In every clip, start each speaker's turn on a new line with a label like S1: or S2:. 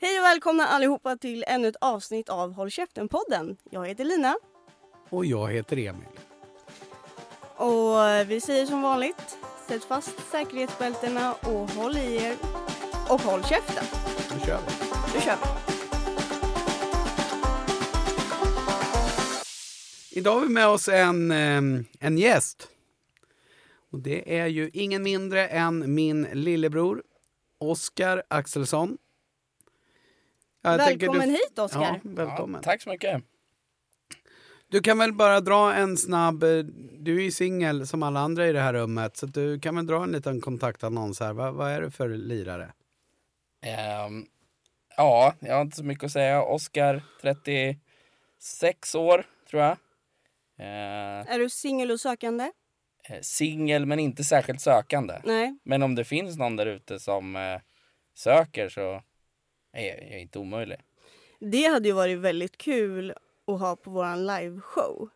S1: Hej och välkomna allihopa till ännu ett avsnitt av Håll Käften-podden. Jag heter Lina
S2: Och jag heter Emil.
S1: och vi säger som vanligt, sätt fast säkerhetsbältena och håll i er. Och håll käften.
S2: Nu kör vi.
S1: Nu kör vi.
S2: Idag har vi med oss en, eh, en gäst. Och det är ju ingen mindre än min lillebror Oskar Axelsson. Ja, jag tänker
S1: Välkommen hit
S2: Ja,
S1: Oskar.
S2: välkommen.
S3: Ja, tack så mycket.
S2: Du kan väl bara dra en snabb... eh, Du är ju singel som alla andra i det här rummet så att du kan väl dra en liten kontaktannons här. Vad, vad är du för lirare?
S3: Ehm, ja, jag har inte så mycket att säga. Oskar, 36 år tror jag. Ehm,
S1: Är du singel och sökande?
S3: eh, Singel men inte särskilt sökande.
S1: Nej.
S3: Men om det finns någon där ute som eh, söker så är jag, jag är inte omöjlig.
S1: Det hade ju varit väldigt kul att ha på våran liveshow.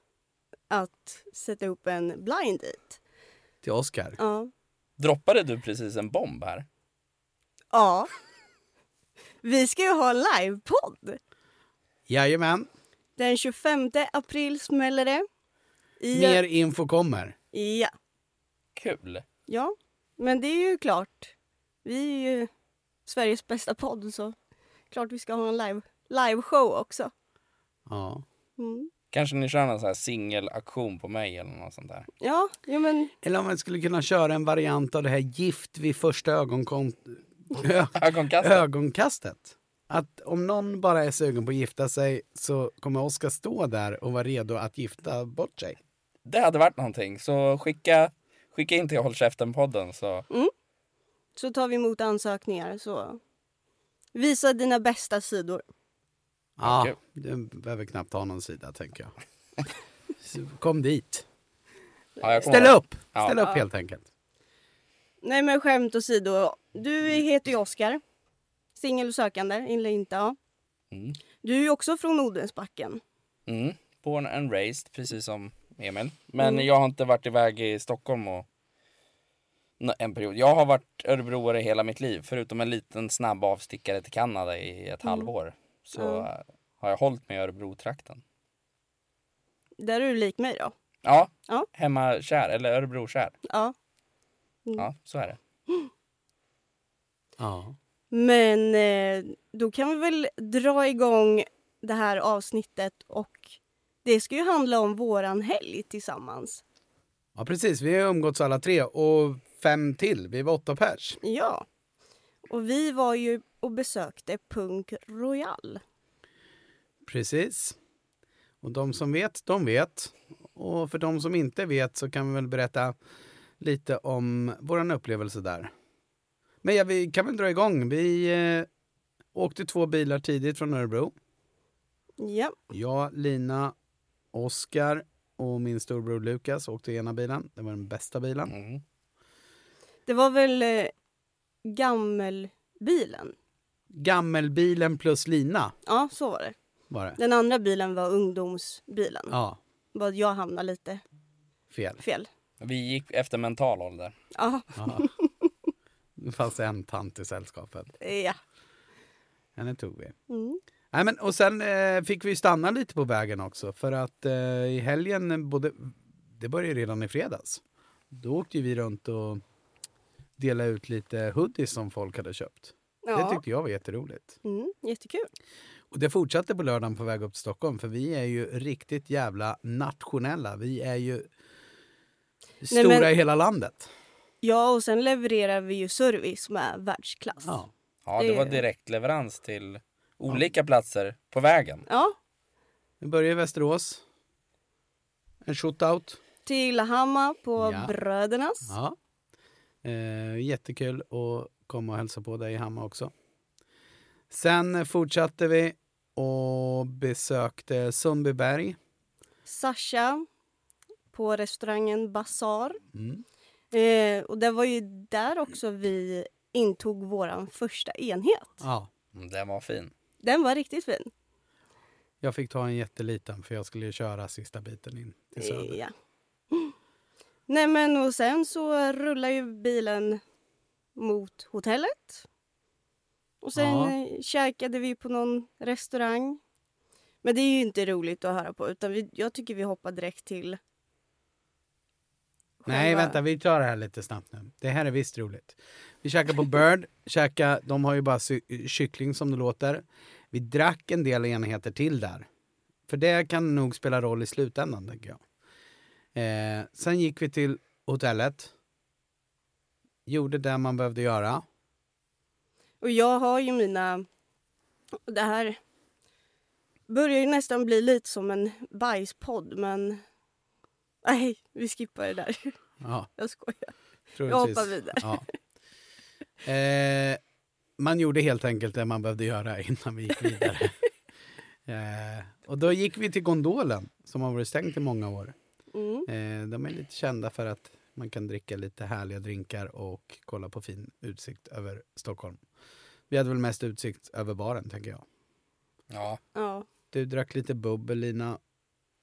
S1: Att sätta upp en blind date.
S2: Till Oskar?
S1: Ja.
S3: Droppade du precis en bomb här?
S1: Ja. Vi ska ju ha en livepodd.
S2: Jajamän.
S1: Den 25 april smäller det. I-
S2: Mer info kommer.
S1: Ja.
S3: Kul.
S1: ja, men det är ju klart. Vi är ju Sveriges bästa podd så klart vi ska ha en live, liveshow också.
S2: Ja.
S1: Mm.
S3: Kanske ni kör någon sån här singelaktion på mig eller något sånt där.
S1: Ja, ja, men
S2: Eller om man skulle kunna köra en variant av det här gift vid första ögonkon- ö-
S3: Ögonkastet.
S2: ögonkastet. Att om någon bara är sugen på att gifta sig så kommer Oskar stå där och vara redo att gifta bort sig.
S3: Det hade varit någonting. Så skicka, skicka in till Håll Käften-podden så
S1: så tar vi emot ansökningar så visa dina bästa sidor.
S2: Ja,
S3: Kul.
S2: du behöver knappt ha någon sida tänker jag. Så Kom dit.
S3: Ja, jag kommer-
S2: Ställ upp!
S3: Ja.
S2: Ställ upp helt enkelt.
S1: Nej men skämt åsido. Du heter ju Oskar. Singel och sökande, eller inte. Ja.
S3: Mm.
S1: Du är ju också från Odensbacken.
S3: Mm. Born and raised, precis som Emil. Men
S1: Mm.
S3: jag har inte varit iväg i Stockholm och Nå- en period. Jag har varit örebroare hela mitt liv, förutom en liten snabb avstickare till Kanada i ett halvår. Så
S1: Mm. Ja.
S3: eh, har jag hållit mig i Örebro-trakten.
S1: Där är du lik mig då.
S3: Ja,
S1: Ja. Mm.
S3: hemmakär, eller Örebro-kär.
S1: Ja.
S3: Ja, så är det.
S2: Ja.
S1: Men eh, då kan vi väl dra igång det här avsnittet och det ska ju handla om våran helg tillsammans.
S2: ja, precis. Vi har umgåtts alla tre och fem till. Vi var åtta pers.
S1: Ja. Och vi var ju och besökte Punk Royal.
S2: Precis. Och de som vet, de vet. Och för de som inte vet så kan vi väl berätta lite om vår upplevelse där. Men ja, vi kan väl dra igång. Vi eh, åkte två bilar tidigt från Örebro.
S1: Ja.
S2: Jag, Lina, Oskar och min storbror Lukas åkte i ena bilen. Det var den bästa bilen.
S3: Mm.
S1: Det var väl eh, gammelbilen?
S2: Gammelbilen plus Lina
S1: Ja, så var det.
S2: var det.
S1: Den andra bilen var ungdomsbilen.
S2: Ja,
S1: Bara att Jag hamnade lite
S2: fel.
S1: fel.
S3: Vi gick efter mental ålder.
S1: Ja,
S2: Ja. Det fanns en tant i sällskapet.
S1: eh, ja.
S2: Henne tog vi.
S1: Mm.
S2: Nej, men, och sen eh, fick vi ju stanna lite på vägen också för att eh, i helgen, både, det började ju redan i fredags, då åkte ju vi runt och delade ut lite hoodies som folk hade köpt. Det
S1: ja.
S2: tyckte jag var jätteroligt.
S1: Mm, jättekul.
S2: Och det fortsatte på lördagen på väg upp till Stockholm för vi är ju riktigt jävla nationella. Vi är ju stora
S1: men-
S2: i hela landet.
S1: Ja, och sen levererar vi ju service med världsklass.
S2: Ja.
S3: Ja, det
S1: Det-
S3: var direktleverans till olika platser på vägen.
S1: Ja,
S2: Vi börjar i Västerås. En shootout.
S1: till Hamma på
S2: Ja.
S1: Brödernas.
S2: Ja. Eh, jättekul att komma och hälsa på dig i Hammar också. Sen fortsatte vi och besökte Sundbyberg.
S1: Sasha på restaurangen Bazaar.
S2: Mm.
S1: Eh, och det var ju där också vi intog vår första enhet.
S2: Ja,
S3: Mm, Den var fin.
S1: Den var riktigt fin.
S2: jag fick ta en jätteliten för jag skulle ju köra sista biten in till Söder.
S1: Ja. Nej men och sen så rullar ju bilen mot hotellet. Och sen
S2: Ja.
S1: ja. käkade vi på någon restaurang. Men det är ju inte roligt att höra på utan vi, jag tycker vi hoppar direkt till...
S2: Nej,
S1: själva-
S2: vänta, vi tar det här lite snabbt nu. Det här är visst roligt. Vi käkade på Bird, käka, de har ju bara sy- kyckling som det låter. Vi drack en del enheter till där. För det kan nog spela roll i slutändan, tänker jag. Eh, sen gick vi till hotellet. Gjorde det man behövde göra.
S1: Och jag har ju mina... Det här börjar ju nästan bli lite som en bajspodd men... Nej, vi skippar det där.
S2: Ja,
S1: Jag skojar.
S2: troligtvis.
S1: Jag hoppar vidare.
S2: Ja. Eh, man gjorde helt enkelt det man behövde göra innan vi gick vidare. eh, och då gick vi till Gondolen som har varit stängd i många år.
S1: Mm.
S2: Eh, de är lite kända för att man kan dricka lite härliga drinkar och kolla på fin utsikt över Stockholm. Vi hade väl mest utsikt över baren, tänker jag.
S3: Ja.
S1: Ja.
S2: Du drack lite bubbel, Lina.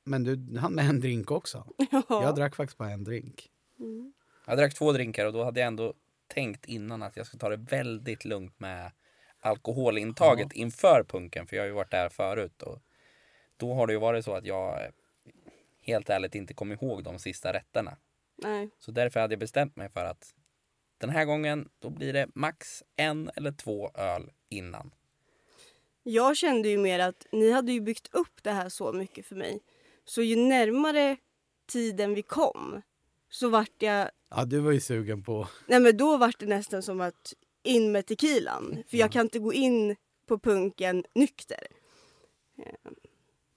S2: Men du hann med en drink också.
S1: ja.
S2: Jag drack faktiskt bara en drink.
S1: Mm.
S3: Jag drack två drinkar och då hade jag ändå tänkt innan att jag ska ta det väldigt lugnt med alkoholintaget inför punken. För jag har ju varit där förut och då har det ju varit så att jag eh, helt ärligt inte kom ihåg de sista rätterna.
S1: Nej.
S3: Så därför hade jag bestämt mig för att den här gången då blir det max en eller två öl innan.
S1: Jag kände ju mer att ni hade ju byggt upp det här så mycket för mig. Så ju närmare tiden vi kom så vart jag...
S2: Ja, du var ju sugen på...
S1: Nej men då vart det nästan som att in med tequilan. För jag kan inte gå in på punken nykter.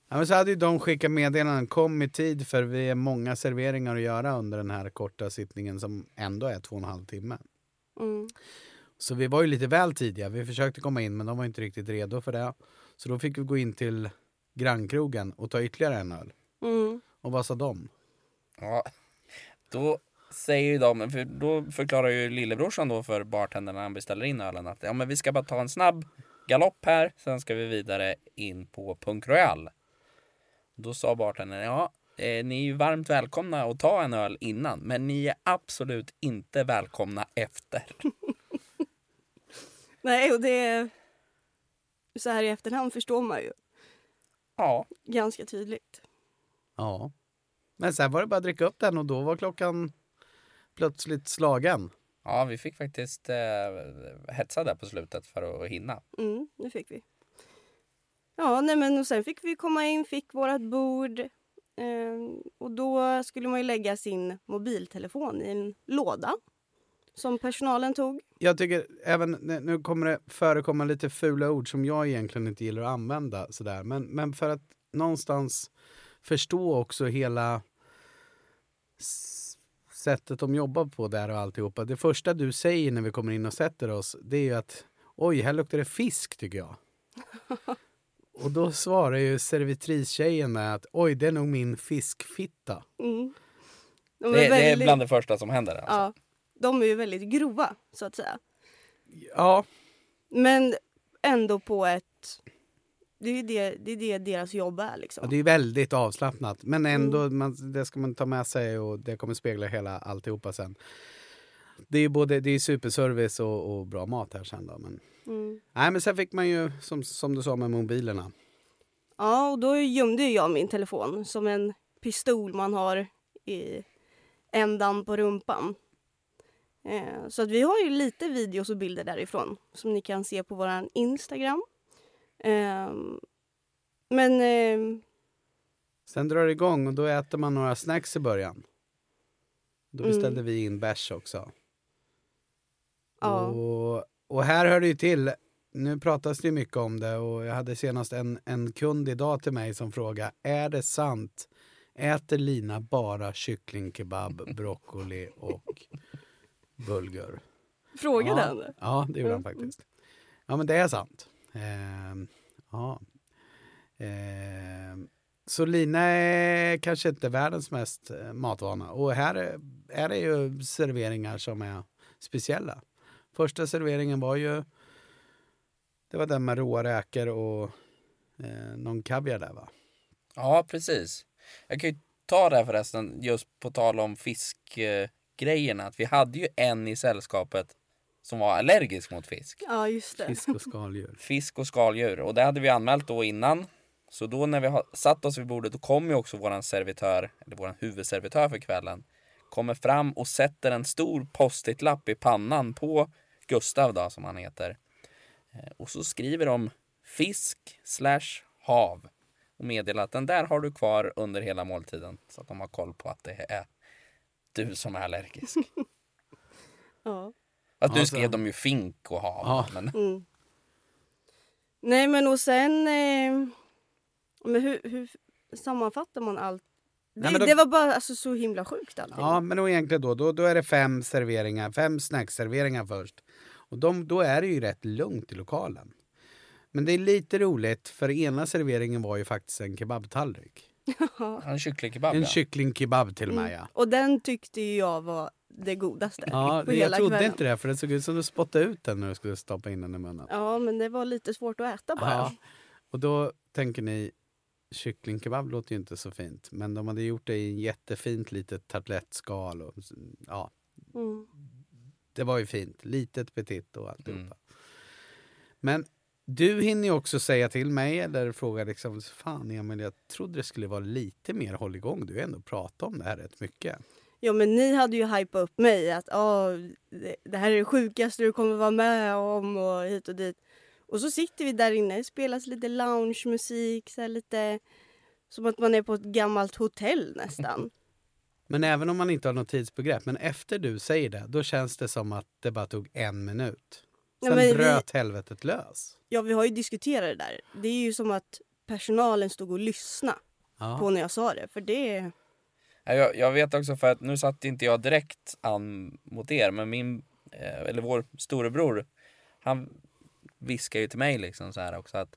S2: Ja, men så hade ju de skickat meddelanden. Kom i tid för vi är många serveringar att göra under den här korta sittningen som ändå är två och en halv timme.
S1: Mm.
S2: Så vi var ju lite väl tidiga. Vi försökte komma in men de var inte riktigt redo för det. Så då fick vi gå in till grannkrogen och ta ytterligare en öl.
S1: Mm.
S2: Och vad sa de?
S3: Ja, då säger ju de, för då förklarar ju lillebrorsan då för bartendern när han beställer in ölen att ja, men vi ska bara ta en snabb galopp här, sen ska vi vidare in på Punk Royal. Då sa bartendern, ja, eh, ni är ju varmt välkomna att ta en öl innan, men ni är absolut inte välkomna efter.
S1: Nej, och det... Så här i efterhand förstår man ju
S3: Ja,
S1: ganska tydligt.
S2: Ja. Men sen var det bara att dricka upp den och då var klockan plötsligt slagen.
S3: ja vi fick faktiskt eh, hetsa där på slutet för att hinna.
S1: Mm, det fick vi. Ja, nej men och sen fick vi komma in, fick vårt bord. Ehm, och då skulle man ju lägga sin mobiltelefon i en låda som personalen tog.
S2: Jag tycker även, nu kommer det förekomma lite fula ord som jag egentligen inte gillar att använda sådär. Men, men för att någonstans förstå också hela s- sättet de jobbar på där och alltihopa. Det första du säger när vi kommer in och sätter oss, det är ju att oj, här luktar det fisk tycker jag. Och då svarar ju servitristjejen med att oj, det är nog min fiskfitta.
S1: Mm. De
S3: Det, det är
S1: väldigt-
S3: bland det första som händer. Alltså.
S1: Ja, de är ju väldigt grova, så att säga.
S2: Ja,
S1: Men ändå på ett... Det är ju det, det, är det deras jobb är. Liksom.
S2: Ja, det är väldigt avslappnat. Men ändå, man, det ska man ta med sig och det kommer spegla hela alltihopa sen. Det är ju både det är superservice och, och bra mat här sen då. Men,
S1: Mm.
S2: nej, men sen fick man ju, som, som du sa med mobilerna.
S1: Ja, och då gömde ju jag min telefon som en pistol man har i ändan på rumpan. Eh, så att vi har ju lite videos och bilder därifrån som ni kan se på vår Instagram. Eh, men eh,
S2: Sen drar det igång och då äter man några snacks i början. Då
S1: Mm.
S2: beställde vi in bärs också.
S1: ja,
S2: Och, och här hör det ju till. Nu pratas det ju mycket om det och jag hade senast en, en kund idag till mig som frågade är det sant? Äter Lina bara kycklingkebab, broccoli och bulgur?
S1: fråga
S2: ja,
S1: den.
S2: Ja, det gjorde han
S1: Mm.
S2: faktiskt. Ja, men det är sant. Ehm, ja. Ehm, så Lina är kanske inte världens mest eh, matvana. Och här är, är det ju serveringar som är speciella. Första serveringen var ju det var den med råa räkor och eh, någon kaviar där va?
S3: Ja, precis. Jag kan ju ta det här förresten, just på tal om fiskgrejerna. Att vi hade ju en i sällskapet som var allergisk mot fisk.
S1: Ja, just det.
S2: Fisk och skaldjur.
S3: Fisk och skaldjur. Och det hade vi anmält då innan. Så då när vi har satt oss vid bordet då kommer ju också våran servitör, eller våran huvudservitör för kvällen, kommer fram och sätter en stor post-it-lapp i pannan på Gustav då, som han heter. Eh, Och så skriver de fisk slash hav och meddelar att den där har du kvar under hela måltiden. Så att de har koll på att det är du som är allergisk.
S1: Ja.
S3: Att du
S2: Ja, så-
S3: skrev de ju fink och hav.
S2: Ja.
S3: Men...
S1: Mm. Nej, men och sen... Eh, men hur, hur sammanfattar man allt? Det,
S2: Nej, men då-
S1: det var bara alltså, så himla sjukt allting.
S2: Ja, men då egentligen då, då, då är det fem serveringar, fem snackserveringar först. Och de, då är det ju rätt lugnt i lokalen. Men det är lite roligt, för ena serveringen var ju faktiskt en kebabtallrik.
S3: En kycklingkebab
S2: En
S3: ja.
S2: kycklingkebab till och med, ja.
S1: Mm. Och den tyckte ju jag var det godaste
S2: Ja,
S1: på
S2: det, jag
S1: hela
S2: trodde
S1: kvällen.
S2: inte det, för det såg ut som du spottade ut den när du skulle stoppa in den i munnen.
S1: Ja, men det var lite svårt att äta bara.
S2: Ja. Och då tänker ni, kycklingkebab låter ju inte så fint. Men de hade gjort det i en jättefint litet tartlettskal. Och, ja,
S1: Mm.
S2: det var ju fint. Litet petit och alltihopa.
S3: Mm.
S2: Men du hinner ju också säga till mig, eller fråga liksom, fan Emil, jag trodde det skulle vara lite mer hålligång. Du har ju ändå pratat om det här rätt mycket.
S1: Ja, men ni hade ju hypat upp mig att ah, det- det här är det sjukaste du kommer vara med om och hit och dit. Och så sitter vi där inne, spelas lite loungemusik, så här lite som att man är på ett gammalt hotell nästan.
S2: Men även om man inte har något tidsbegrepp, men efter du säger det, då känns det som att det bara tog en minut.
S1: Ja,
S2: Sen
S1: men vi-
S2: bröt helvetet lös.
S1: Ja, vi har ju diskuterat det där. Det är ju som att personalen stod och lyssnade
S2: Ja.
S1: på när jag sa det, för det...
S3: Ja, Jag, jag vet också för att nu satt inte jag direkt an mot er men min, eh, eller vår storebror, han viskar ju till mig liksom så här också att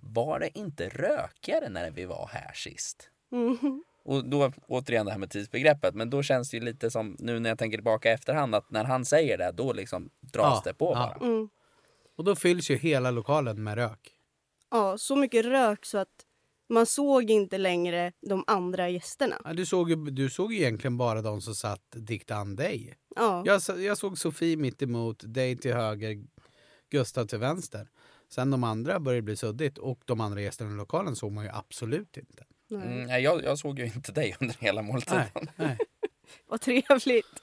S3: var det inte rökigare när vi var här sist?
S1: Mm.
S3: Och då återigen det här med tidsbegreppet men då känns det ju lite som nu när jag tänker tillbaka i efterhand att när han säger det då liksom dras
S2: Ja,
S3: det på
S2: ja.
S3: bara.
S1: Mm.
S2: Och då fylls ju hela lokalen med rök.
S1: Ja, så mycket rök så att man såg inte längre de andra gästerna.
S2: Ja, Du såg, ju, du såg ju egentligen bara de som satt dikt an dig.
S1: Ja,
S2: Jag, så- jag såg Sofie mitt emot, dig till höger, Gustav till vänster. Sen de andra började bli suddigt och de andra gästerna i lokalen såg man ju absolut inte.
S1: nej.
S3: Mm, nej, jag, jag såg ju inte dig under hela måltiden.
S2: Nej, nej.
S1: vad trevligt.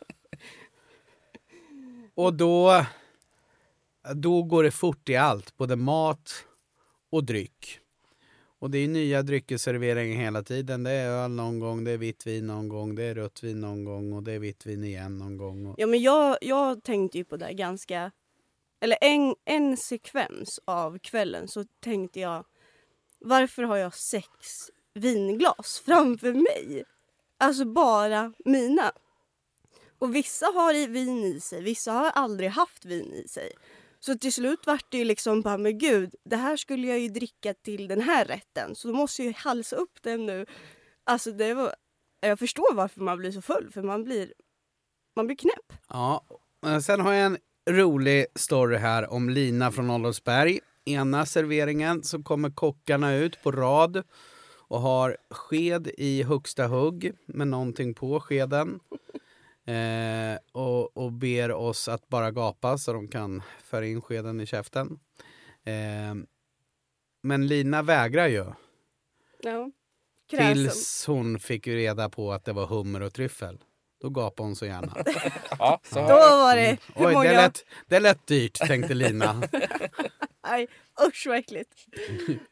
S2: Och då, då går det fort i allt, både mat och dryck. Och det är nya dryckesserveringar hela tiden. Det är öl någon gång, det är vitt vin någon gång, det är rött vin någon gång och det är vitt vin igen någon gång. Och...
S1: Ja, men jag, jag tänkte ju på det här ganska... Eller en, en sekvens av kvällen så tänkte jag varför har jag sex vinglas framför mig? Alltså bara mina. Och vissa har i vin i sig, vissa har aldrig haft vin i sig. Så till slut vart det ju liksom bara, men gud, det här skulle jag ju dricka till den här rätten så då måste jag ju halsa upp den nu. Alltså det var, jag förstår varför man blir så full för man blir, man blir knäpp.
S2: Ja, eh, sen har jag en rolig story här om Lina från Adolfsberg. Ena serveringen så kommer kockarna ut på rad och har sked i högsta hugg med någonting på skeden. Eh, och, och ber oss att bara gapa så de kan föra in skeden i käften. Eh, men Lina vägrar ju.
S1: Ja. Kräsen.
S2: Tills hon fick ju reda på att det var hummer och tryffel. Då gapade hon så gärna.
S3: Ja, så
S1: Då
S3: har jag-
S1: var det... Eh, Hur
S2: Mm. Oj,
S1: många?
S2: det lät, det lät dyrt, tänkte Lina.
S1: Nej, usch vad äckligt.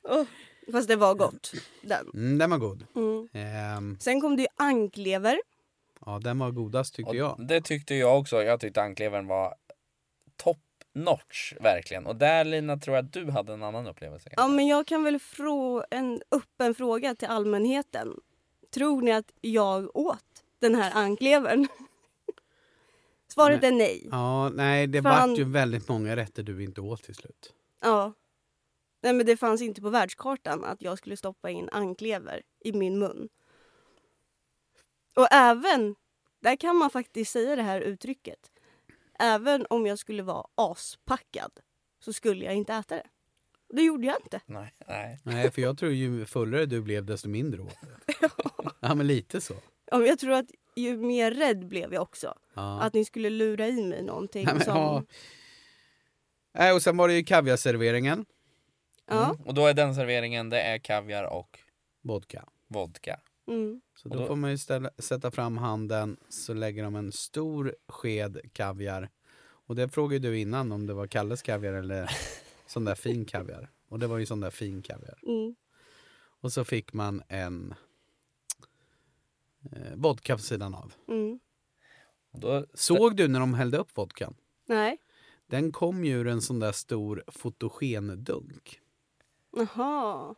S1: Åh, Fast det var gott. Den.
S2: Mm, den var god.
S1: Mm.
S2: Ehm,
S1: Sen kom det ju anklever.
S2: ja, den var godast tyckte
S3: Och
S2: jag.
S3: Det tyckte jag också. Jag tyckte anklevern var top notch verkligen. Och där Lina tror jag att du hade en annan upplevelse.
S1: Ja, men jag kan väl frå en öppen fråga till allmänheten. Tror ni att jag åt den här anklevern? Svaret är nej.
S2: Ja, nej, det
S1: Fan.
S2: vart ju väldigt många rätter du inte åt till slut.
S1: Ja. Nej, men det fanns inte på världskartan att jag skulle stoppa in anklever i min mun. Och även, där kan man faktiskt säga det här uttrycket, även om jag skulle vara aspackad så skulle jag inte äta det. Och det gjorde jag inte.
S3: Nej, nej.
S2: Nej, för jag tror ju fullare du blev desto mindre åt det. Ja, men lite så.
S1: Ja, men Jag tror att ju mer rädd blev jag också.
S2: Ja.
S1: Att ni skulle lura i mig någonting
S2: Nej, men,
S1: som...
S2: ja. Nej, och sen var det ju kaviarserveringen.
S1: Ja.
S3: Mm. Och då är den serveringen, det är kaviar och
S2: Vodka.
S3: vodka.
S1: Mm.
S2: Så
S3: Och
S2: då,
S3: då-
S2: får man ju ställa, sätta fram handen så lägger de en stor sked kaviar. Och det frågade ju du innan om det var Kalles kaviar eller sån där fin kaviar. Och det var ju sån där fin kaviar.
S1: Mm.
S2: Och så fick man en eh, vodka på sidan av.
S1: Mm.
S3: Och då,
S2: Såg du när de hällde upp vodkan?
S1: Nej.
S2: Den kom ju ur en sån där stor fotogendunk.
S1: Jaha.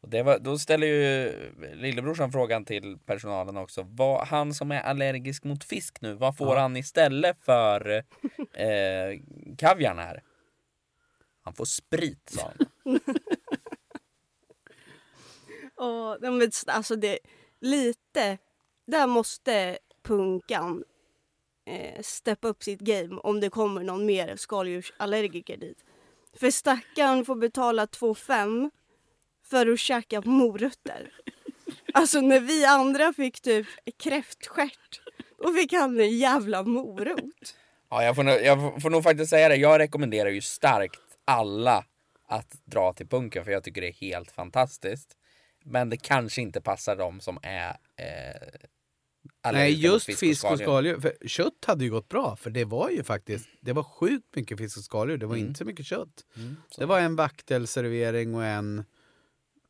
S3: och det var, då ställer ju lillebrorsan frågan till personalen också. Vad, han som är allergisk mot fisk nu, vad får
S2: Ja.
S3: han istället för eh, kaviarn här? Han får sprit, sa han.
S1: Och, nej, men, alltså det, lite, där måste punkan eh, steppa upp sitt game om det kommer någon mer skaldjursallergiker dit. För stackaren får betala 2,5 för att käka morötter. Alltså när vi andra fick typ kräftstjärt, då fick han en jävla morot.
S3: Ja, jag får, nog, jag får nog faktiskt säga det. Jag rekommenderar ju starkt alla att dra till punken för jag tycker det är helt fantastiskt. Men det kanske inte passar dem som är eh, allergiska
S2: Nej,
S3: mot
S2: just fisk och
S3: skaldjur.
S2: skaldjur. För kött hade ju gått bra, för det var ju faktiskt det var sjukt mycket fisk och skaldjur. Det var inte så mycket kött.
S3: Mm, så.
S2: Det var en vaktelservering och en,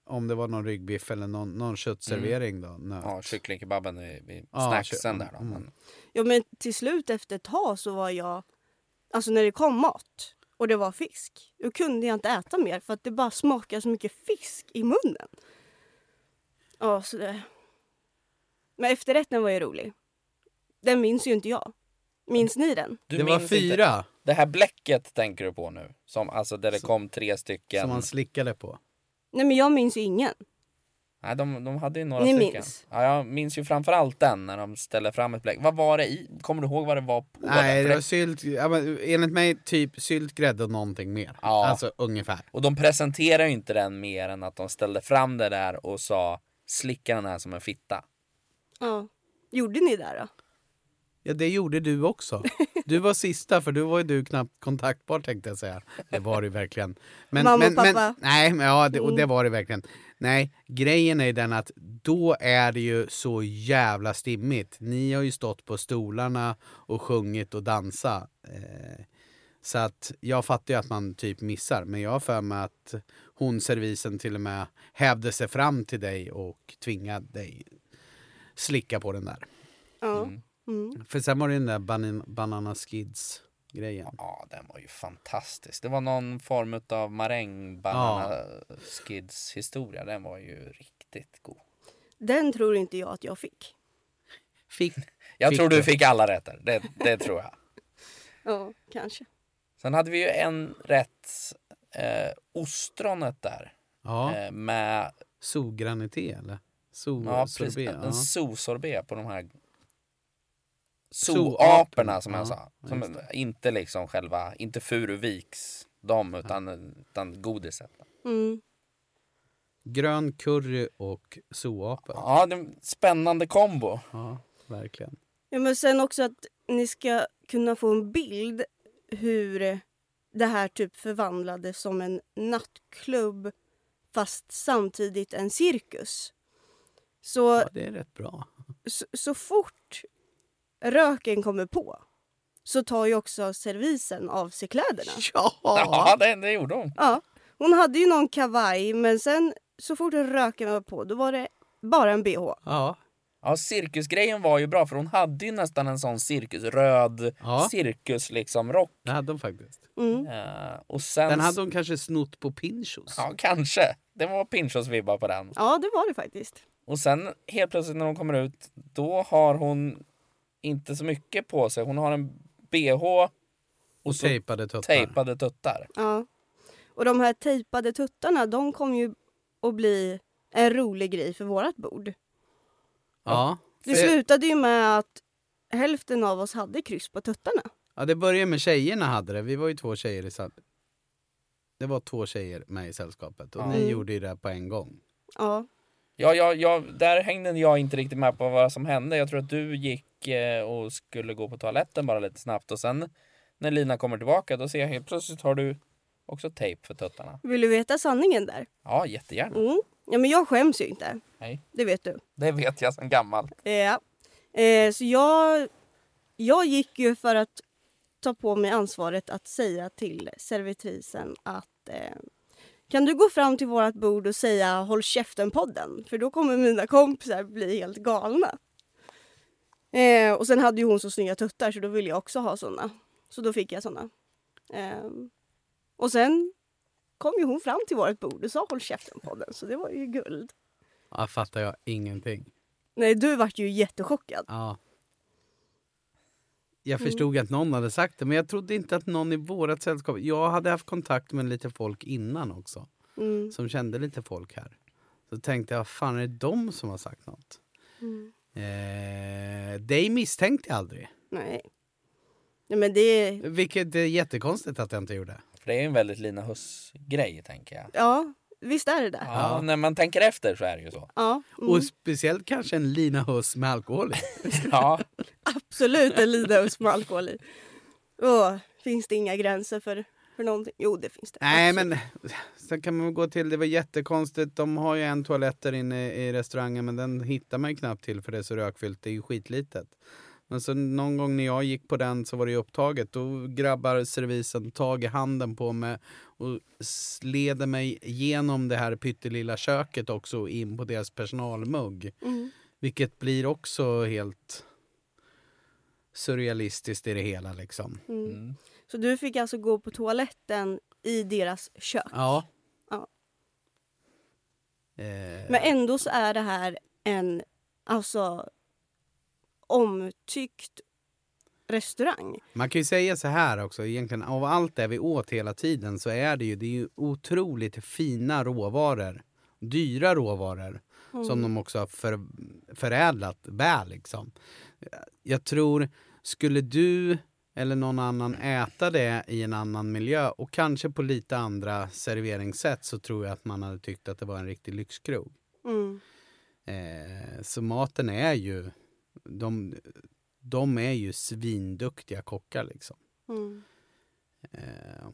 S2: om det var någon ryggbiff eller någon, någon köttservering. Då, nöt.
S3: Mm. Ja, kycklingkebaben i, i
S2: Ja,
S3: snacksen
S2: kyck-
S3: där då.
S2: mm.
S3: Men,
S1: Ja men till slut efter ett tag så var jag, alltså när det kom mat och det var fisk, då kunde jag inte äta mer för att det bara smakade så mycket fisk i munnen. Ja, så det... Men efterrätten var ju rolig. Den minns ju inte jag. Minns ni den?
S3: du
S2: det var
S3: minns inte-
S2: fyra
S3: Det här bläcket tänker du på nu. Som, alltså där det
S2: Så-
S3: kom tre stycken.
S2: som man slickade på.
S1: Nej men jag minns ju ingen.
S3: Nej, de, de hade ju några
S1: Ni
S3: stycken.
S1: minns?
S3: Ja, jag minns ju framförallt den när de ställde fram ett bläck. Vad var det i? Kommer du ihåg vad det var på? den?
S2: Nej,
S3: För
S2: det var sylt. Ja, men, enligt mig typ sylt, grädde och någonting mer.
S3: Ja.
S2: Alltså ungefär.
S3: Och de presenterar ju inte den mer än att de ställde fram det där och sa slicka den här som en fitta.
S1: Ja. Gjorde ni det då?
S2: Ja, det gjorde du också. Du var sista, för du var ju du knappt kontaktbar tänkte jag säga. Det var du verkligen. Men,
S1: Mamma och
S2: men, Men,
S1: pappa. Mm.
S2: nej, men ja, det, och det var det verkligen. Nej, grejen är ju den att då är det ju så jävla stimmigt. Ni har ju stått på stolarna och sjungit och dansat. Eh, så att jag fattar ju att man typ missar, men jag har för mig att hon, servisen, till och med hävde sig fram till dig och tvingade dig slicka på den där.
S1: Ja.
S3: Mm.
S1: Mm.
S2: För sen var det den där banan- Banana Skids grejen.
S3: Ja, den var ju fantastisk. Det var någon form av marängbananaskids historia. Den var ju riktigt god.
S1: Den tror inte jag att jag fick.
S2: Fick.
S3: Jag
S2: Fick
S3: tror du
S2: du?
S3: fick alla rätter. Det, det tror jag.
S1: Ja, kanske.
S3: Sen hade vi ju en rätt, eh, ostronet där.
S2: Ja,
S3: Eh, med
S2: Sougranité eller? So
S3: ja, precis,
S2: sorbet,
S3: en zoosorbet på de här
S2: Zooaporna,
S3: zooaporna som
S2: ja,
S3: jag sa.
S2: ja, just
S3: Som inte liksom själva, inte Furuviks de utan, utan godiset.
S1: Mm.
S2: Grön curry och soapor. Ja.
S3: Ja, det är en spännande kombo.
S2: verkligen.
S1: Ja, men sen också att ni ska kunna få en bild hur det här typ förvandlades som en nattklubb fast samtidigt en cirkus. Så,
S2: Ja, det är rätt bra.
S1: så, så fort röken kommer på så tar ju också servisen av sig kläderna.
S3: Ja, det, det gjorde hon.
S1: Ja, hon hade ju någon kavaj men sen så fort röken var på då var det bara en bh.
S2: Ja,
S3: Ja, cirkusgrejen var ju bra för hon hade ju nästan en sån cirkus, röd
S2: Ja.
S3: cirkus liksom rock.
S2: det hade de faktiskt.
S1: Mm.
S3: Eh, och sen...
S2: Den hade de kanske snott på Pinchos.
S3: Ja, kanske. Det var Pinchos vibbar på den.
S1: Ja, det var det faktiskt.
S3: Och sen helt plötsligt när hon kommer ut, då har hon inte så mycket på sig. Hon har en bh och
S2: Och
S3: så
S2: tejpade tuttar.
S3: tejpade tuttar.
S1: Ja. Och de här tejpade tuttarna, de kom ju att bli en rolig grej för vårt bord.
S2: Ja.
S1: Det
S2: För-
S1: slutade ju med att hälften av oss hade kryss på tuttarna.
S2: Ja, det började med tjejerna hade det. Vi var ju två tjejer i sam- Det var två tjejer med i sällskapet och
S3: Ja.
S2: ni
S1: Mm.
S2: gjorde ju det här på en gång.
S1: Ja.
S3: Ja, ja, ja, där hängde jag inte riktigt med på vad som hände. Jag tror att du gick eh, och skulle gå på toaletten bara lite snabbt och sen när Lina kommer tillbaka då ser jag helt plötsligt har du också tejp för tuttarna.
S1: Vill du veta sanningen där?
S3: Ja, jättegärna.
S1: Mm. Ja, men jag skäms ju inte.
S3: Nej.
S1: Det vet du.
S3: Det vet jag sedan gammalt.
S1: Ja. Eh, så jag, jag gick ju för att ta på mig ansvaret att säga till servitrisen att eh, kan du gå fram till vårt bord och säga håll käften-podden? För då kommer mina kompisar bli helt galna. Eh, och sen hade ju hon så snygga tuttar så då ville jag också ha såna. Så då fick jag såna. Eh, och sen kom ju hon fram till vårt bord och sa håll käften-podden så det var ju guld.
S2: Ja, fattar jag ingenting.
S1: Nej, du vart ju jättechockad.
S2: Ja. Jag
S1: Mm.
S2: förstod att någon hade sagt det, men jag trodde inte att någon i vårat sällskap... Jag hade haft kontakt med lite folk innan också,
S1: Mm.
S2: som kände lite folk här. Så tänkte jag, fan är det de som har sagt något?
S1: Mm.
S2: Eh, dig misstänkte jag aldrig,
S1: Nej. Nej men det...
S2: vilket är jättekonstigt att jag inte gjorde.
S3: För det är ju en väldigt Lina Huss-grej tänker jag.
S1: Ja, visst är det där. Ja.
S3: Ja, när man tänker efter så är det ju så.
S1: mm.
S2: Och speciellt kanske en Lina Huss med alkohol i.
S3: Ja,
S1: Absolut en Lidaus med alkohol i. Åh, finns det inga gränser för, för någonting? Jo, det finns det.
S2: Nej,
S1: Absolut.
S2: men sen kan man väl gå till, det var jättekonstigt, de har ju en toalett där inne i restaurangen men den hittar man ju knappt till för det är så rökfyllt, det är ju skitlitet. Men så någon gång när jag gick på den så var det ju upptaget, då grabbar servisen tag i handen på mig och s- leder mig genom det här pyttelilla köket också och in på deras personalmugg.
S1: Mm.
S2: Vilket blir också helt surrealistiskt i det hela liksom.
S1: Mm.
S3: mm.
S1: Så du fick alltså gå på toaletten i deras kök.
S2: Ja.
S1: Ja.
S2: Eh,
S1: Men ändå så är det här en alltså omtyckt restaurang.
S2: Man kan ju säga så här också, egentligen av allt det vi åt hela tiden så är det ju, det är ju otroligt fina råvaror. Dyra råvaror
S1: Mm.
S2: som de också har för, förädlat väl liksom. Jag tror, skulle du eller någon annan äta det i en annan miljö och kanske på lite andra serveringssätt så tror jag att man hade tyckt att det var en riktig lyxkrog.
S1: Mm.
S2: Eh, så maten är ju... De, de är ju svinduktiga kockar liksom.
S1: Mm.
S2: Eh,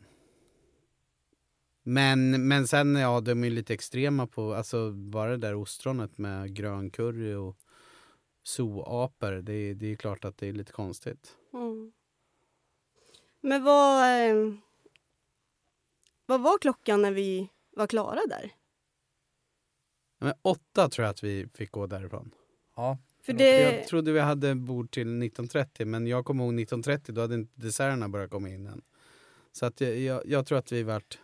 S2: men, men sen, ja, de är ju lite extrema på... Alltså, bara det där ostronet med grön curry och zooapor. Det, är- det är klart att det är lite konstigt.
S1: Mm. Men vad... eh, Vad var klockan när vi var klara där?
S2: Men åtta tror jag att vi fick gå därifrån.
S3: ja.
S1: För
S3: Jag
S1: det...
S2: Jag trodde vi hade bord till 19.30, men jag kommer ihåg 19.30, då hade inte desserterna börjat komma in än. Så att jag, jag, jag tror att vi vart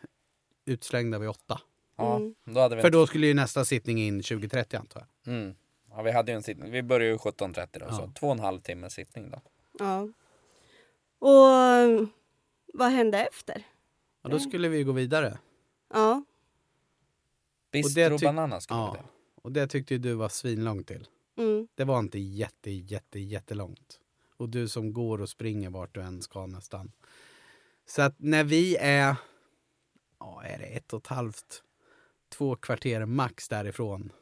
S2: utslängda vid åtta.
S3: ja.
S1: Mm.
S3: Då hade vi
S2: För då skulle ju nästa sittning in 2030 antar jag.
S3: Mm. Ja, vi hade ju en sittning. Vi började ju 17.30 då, så
S2: Ja.
S3: två och en halv timme sittning då.
S1: Ja. Och eh, vad hände efter?
S2: Ja, då skulle vi ju gå vidare.
S1: Ja.
S2: det
S3: Bistro
S2: tyck-
S3: Banana skulle
S2: Ja.
S3: vi till.
S2: Och det tyckte ju du var svinlångt till.
S1: Mm.
S2: Det var inte jätte, jätte, jättelångt. Och du som går och springer vart du än ska nästan. Så att när vi är, ja är det ett och ett halvt, två kvarter max därifrån,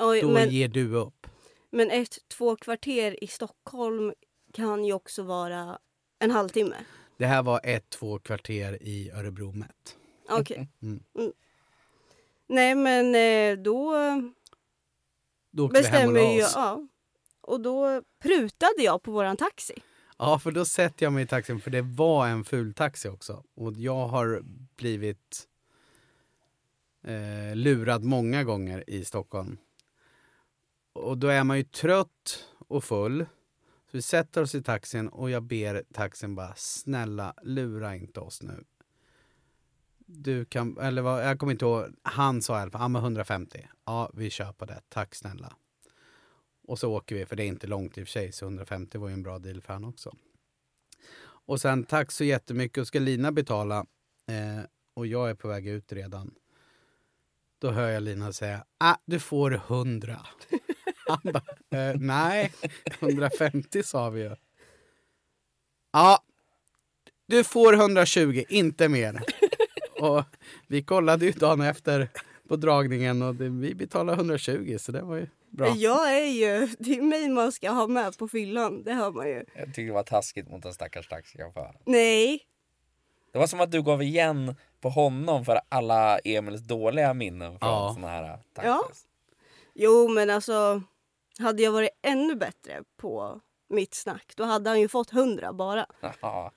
S1: Oj,
S2: då
S1: men,
S2: ger du upp.
S1: men ett, två kvarter i Stockholm kan ju också vara en halvtimme.
S2: Det här var ett, två kvarter i Örebro mätt.
S1: Okej.
S2: Mm.
S1: Mm. Nej, men eh, då
S2: Då åkte
S1: bestämmer
S2: vi hem och
S1: jag...
S2: la oss.
S1: Ja. Och då prutade jag på våran taxi.
S2: Ja, för då sätter jag mig i taxin, för det var en ful taxi också. Och jag har blivit eh, lurad många gånger i Stockholm. Och då är man ju trött och full. Så vi sätter oss i taxin och jag ber taxin bara snälla lura inte oss nu. Du kan, eller vad, jag kommer inte ihåg, han sa i alla fall, ja men 150. Ja, vi kör på det, tack snälla. Och så åker vi, för det är inte långt i och för sig, så 150 var ju en bra deal för han också. Och sen tack så jättemycket, och ska Lina betala eh, och jag är på väg ut redan. Då hör jag Lina säga, ah, du får 100. Han bara, eh, nej, 150 sa vi ju. Ja, du får 120, inte mer. Och vi kollade ju dagen efter på dragningen och det, vi betalade 120 så det var ju bra.
S1: Jag är ju, det är mig man ska ha med på fyllan, det hör man ju.
S3: Jag tyckte det var taskigt mot den stackars taxichauffören.
S1: Nej,
S3: Det var som att du gav igen på honom för alla Emils dåliga minnen från
S2: Ja.
S3: såna här äh, taxis.
S1: Ja. jo men alltså hade jag varit ännu bättre på mitt snack då hade han ju fått 100 bara.
S3: Ja.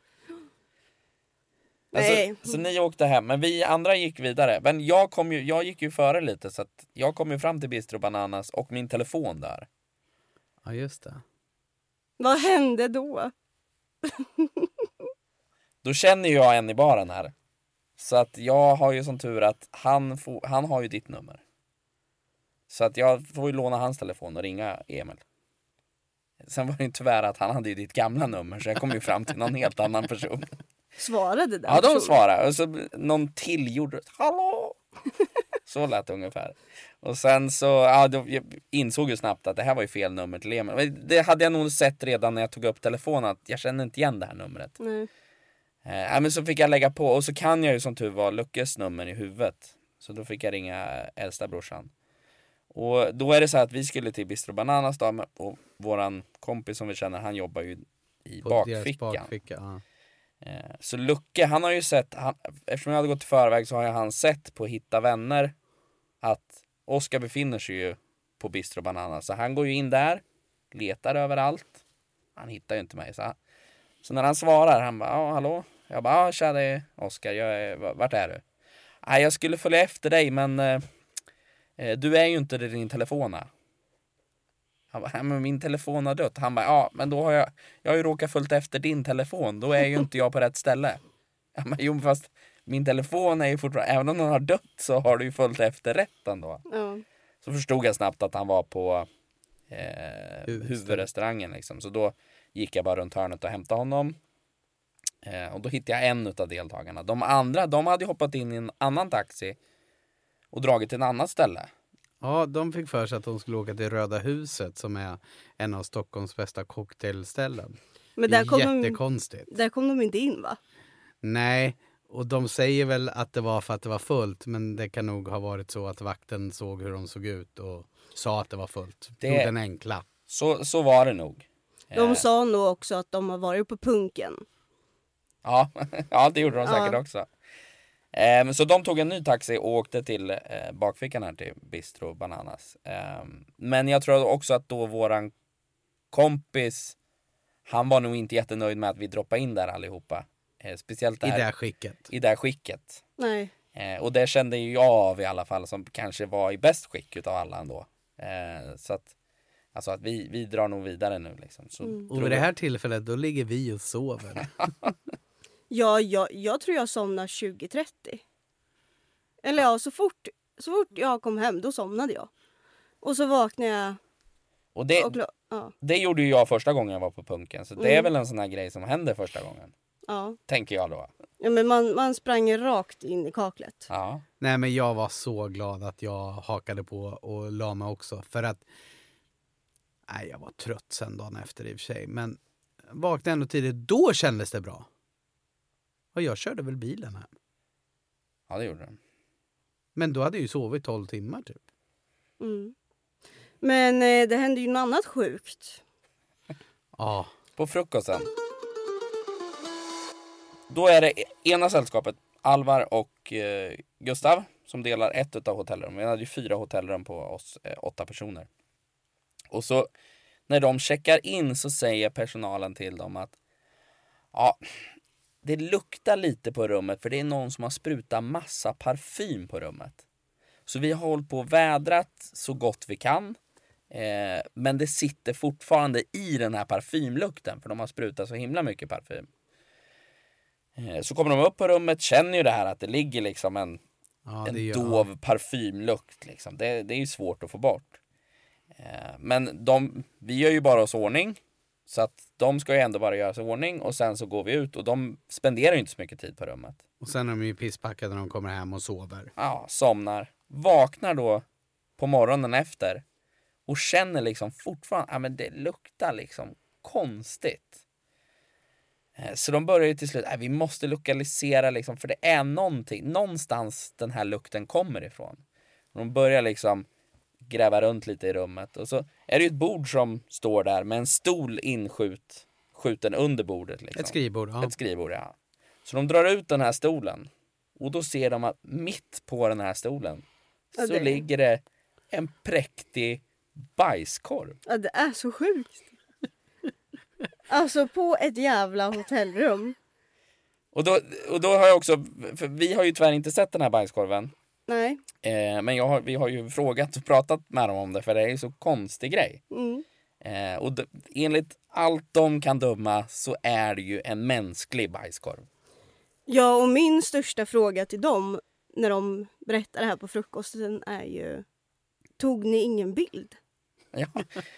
S1: Nej.
S3: Alltså, så ni åkte hem, men vi andra gick vidare. Men jag, kom ju, jag gick ju före lite, så att jag kom ju fram till Bistro Bananas och min telefon där.
S2: Ja, just det.
S1: Vad hände då?
S3: Då känner ju jag en i baren här. Så att jag har ju som tur att han, får, han har ju ditt nummer. Så att jag får ju låna hans telefon och ringa Emil. Sen var det ju tyvärr att han hade ju ditt gamla nummer, så jag kom ju fram till någon helt annan person.
S1: Svarade den
S3: Ja, de
S1: personen?
S3: svarade. Och så någon till gjorde hallå! Så lät det ungefär. Och sen så ja, då, jag insåg ju snabbt att det här var ju fel nummer till Emil. Men Det hade jag nog sett redan när jag tog upp telefonen att jag känner inte igen det här numret.
S1: Nej.
S3: Eh, ja, men så fick jag lägga på och så kan jag ju som tur var Luckes nummer i huvudet. Så då fick jag ringa äldsta brorsan. Och då är det så här att vi skulle till Bistro Bananas då, men- och våran kompis som vi känner han jobbar ju i
S2: På deras
S3: bakfickan.
S2: bakficka. Ja.
S3: Eh, Så Lucke, han har ju sett, han, eftersom jag hade gått i förväg så har ju han sett på Hitta Vänner att Oskar befinner sig ju på Bistro Banana. Så han går ju in där, letar överallt. Han hittar ju inte mig. Så, han, så när han svarar, han bara ja, hallå? Jag bara ja, tja det är Oskar, jag är, v- vart är du? Nej, jag skulle följa efter dig men eh, eh, du är ju inte i din telefona. Han bara, "Nej, men min telefon har dött. Han bara, ja men då har jag, jag har ju råkat följt efter din telefon, då är ju inte jag på rätt ställe. Ja, men jo fast min telefon är ju fortfarande, även om den har dött så har du ju följt efter rätt ändå.
S1: Ja.
S3: Så förstod jag snabbt att han var på eh,
S2: Huvudrestaurang.
S3: huvudrestaurangen liksom. Så då gick jag bara runt hörnet och hämtade honom. Eh, och då hittade jag en av deltagarna. De andra, de hade ju hoppat in i en annan taxi och dragit till ett annat ställe.
S2: ja, de fick för sig att de skulle åka till Röda huset som är en av Stockholms bästa cocktailställen.
S1: Men där kom, de,
S2: Jättekonstigt.
S1: där kom de inte in va?
S2: Nej, och de säger väl att det var för att det var fullt, men det kan nog ha varit så att vakten såg hur de såg ut och sa att det var fullt.
S3: Det-
S2: Det... Tog den enkla.
S3: Så, så var det nog. Eh.
S1: De sa nog också att de har varit på punken.
S3: Ja, ja det gjorde de
S1: Ja.
S3: säkert också. Ehm, så de tog en ny taxi och åkte till eh, bakfickan här till Bistro Bananas. Ehm, men jag tror också att då våran kompis, han var nog inte jättenöjd med att vi droppade in där allihopa. Eh, speciellt
S2: I det
S3: där,
S2: här skicket.
S3: i det här skicket.
S1: Nej.
S3: Eh, och det kände ju jag av i alla fall som kanske var i bäst skick utav alla ändå. Eh, så att, alltså att vi, vi drar nog vidare nu liksom. Så
S2: Och vid det här tillfället, då ligger vi och sover.
S1: Ja, jag, jag tror jag somnade 20.30. Eller ja, så fort, så fort jag kom hem då somnade jag. Och så vaknade jag
S3: och det,
S1: och... klo- Ja,
S3: det gjorde ju jag första gången jag var på punken. Så det är väl en sån här grej som händer första gången.
S1: ja.
S3: Tänker jag då.
S1: ja men man, man sprang ju rakt in i kaklet.
S3: Ja.
S2: Nej, men jag var så glad att jag hakade på och la mig också. För att... Nej, jag var trött sen dagen efter i och för sig. Men vaknade ändå tidigt. Då kändes det bra. Och jag körde väl bilen här.
S3: ja, det gjorde den.
S2: Men då hade jag ju sovit 12 timmar typ.
S1: Mm. Men eh, det hände ju något annat sjukt.
S2: Ja.
S3: På frukosten. Då är det ena sällskapet, Alvar och eh, Gustav, som delar ett av hotellrum. Vi hade ju fyra hotellrum på oss, eh, åtta personer. Och så när de checkar in så säger personalen till dem att ja, det luktar lite på rummet för det är någon som har sprutat massa parfym på rummet. Så vi har hållit på och vädrat så gott vi kan. Eh, men det sitter fortfarande i den här parfymlukten för de har sprutat så himla mycket parfym. Eh, så kommer de upp på rummet, känner ju det här att det ligger liksom en
S2: ja
S3: en
S2: det gör-
S3: dov parfymlukt. Liksom. Det, det är ju svårt att få bort. Eh, men de, vi gör ju bara oss ordning. Så att de ska ju ändå bara göra sig i ordning och sen så går vi ut och de spenderar ju inte så mycket tid på rummet.
S2: Och sen är de ju pisspackade när de kommer hem och sover.
S3: Ja, somnar. Vaknar då på morgonen efter och känner liksom fortfarande, ja men det luktar liksom konstigt. Eh, Så de börjar ju till slut, "Nej, vi måste lokalisera liksom, för det är någonting, någonstans den här lukten kommer ifrån. De börjar liksom gräva runt lite i rummet och så är det ju ett bord som står där med en stol inskjut, skjuten under bordet. Liksom.
S2: Ett skrivbord, ja.
S3: Ett skrivbord, ja. Så de drar ut den här stolen och då ser de att mitt på den här stolen
S1: Ja,
S3: så
S1: det-
S3: ligger det en präktig bajskorv.
S1: Ja, det är så sjukt. Alltså på ett jävla hotellrum.
S3: Och då, och då har jag också, för vi har ju tyvärr inte sett den här bajskorven.
S1: Nej.
S3: Eh, men jag har, vi har ju frågat och pratat med dem om det för det är ju så konstig grej.
S1: Mm.
S3: Eh, och d- enligt allt de kan döma så är det ju en mänsklig bajskorv.
S1: Ja, och min största fråga till dem när de berättar det här på frukosten är ju Tog ni ingen bild?
S3: Ja.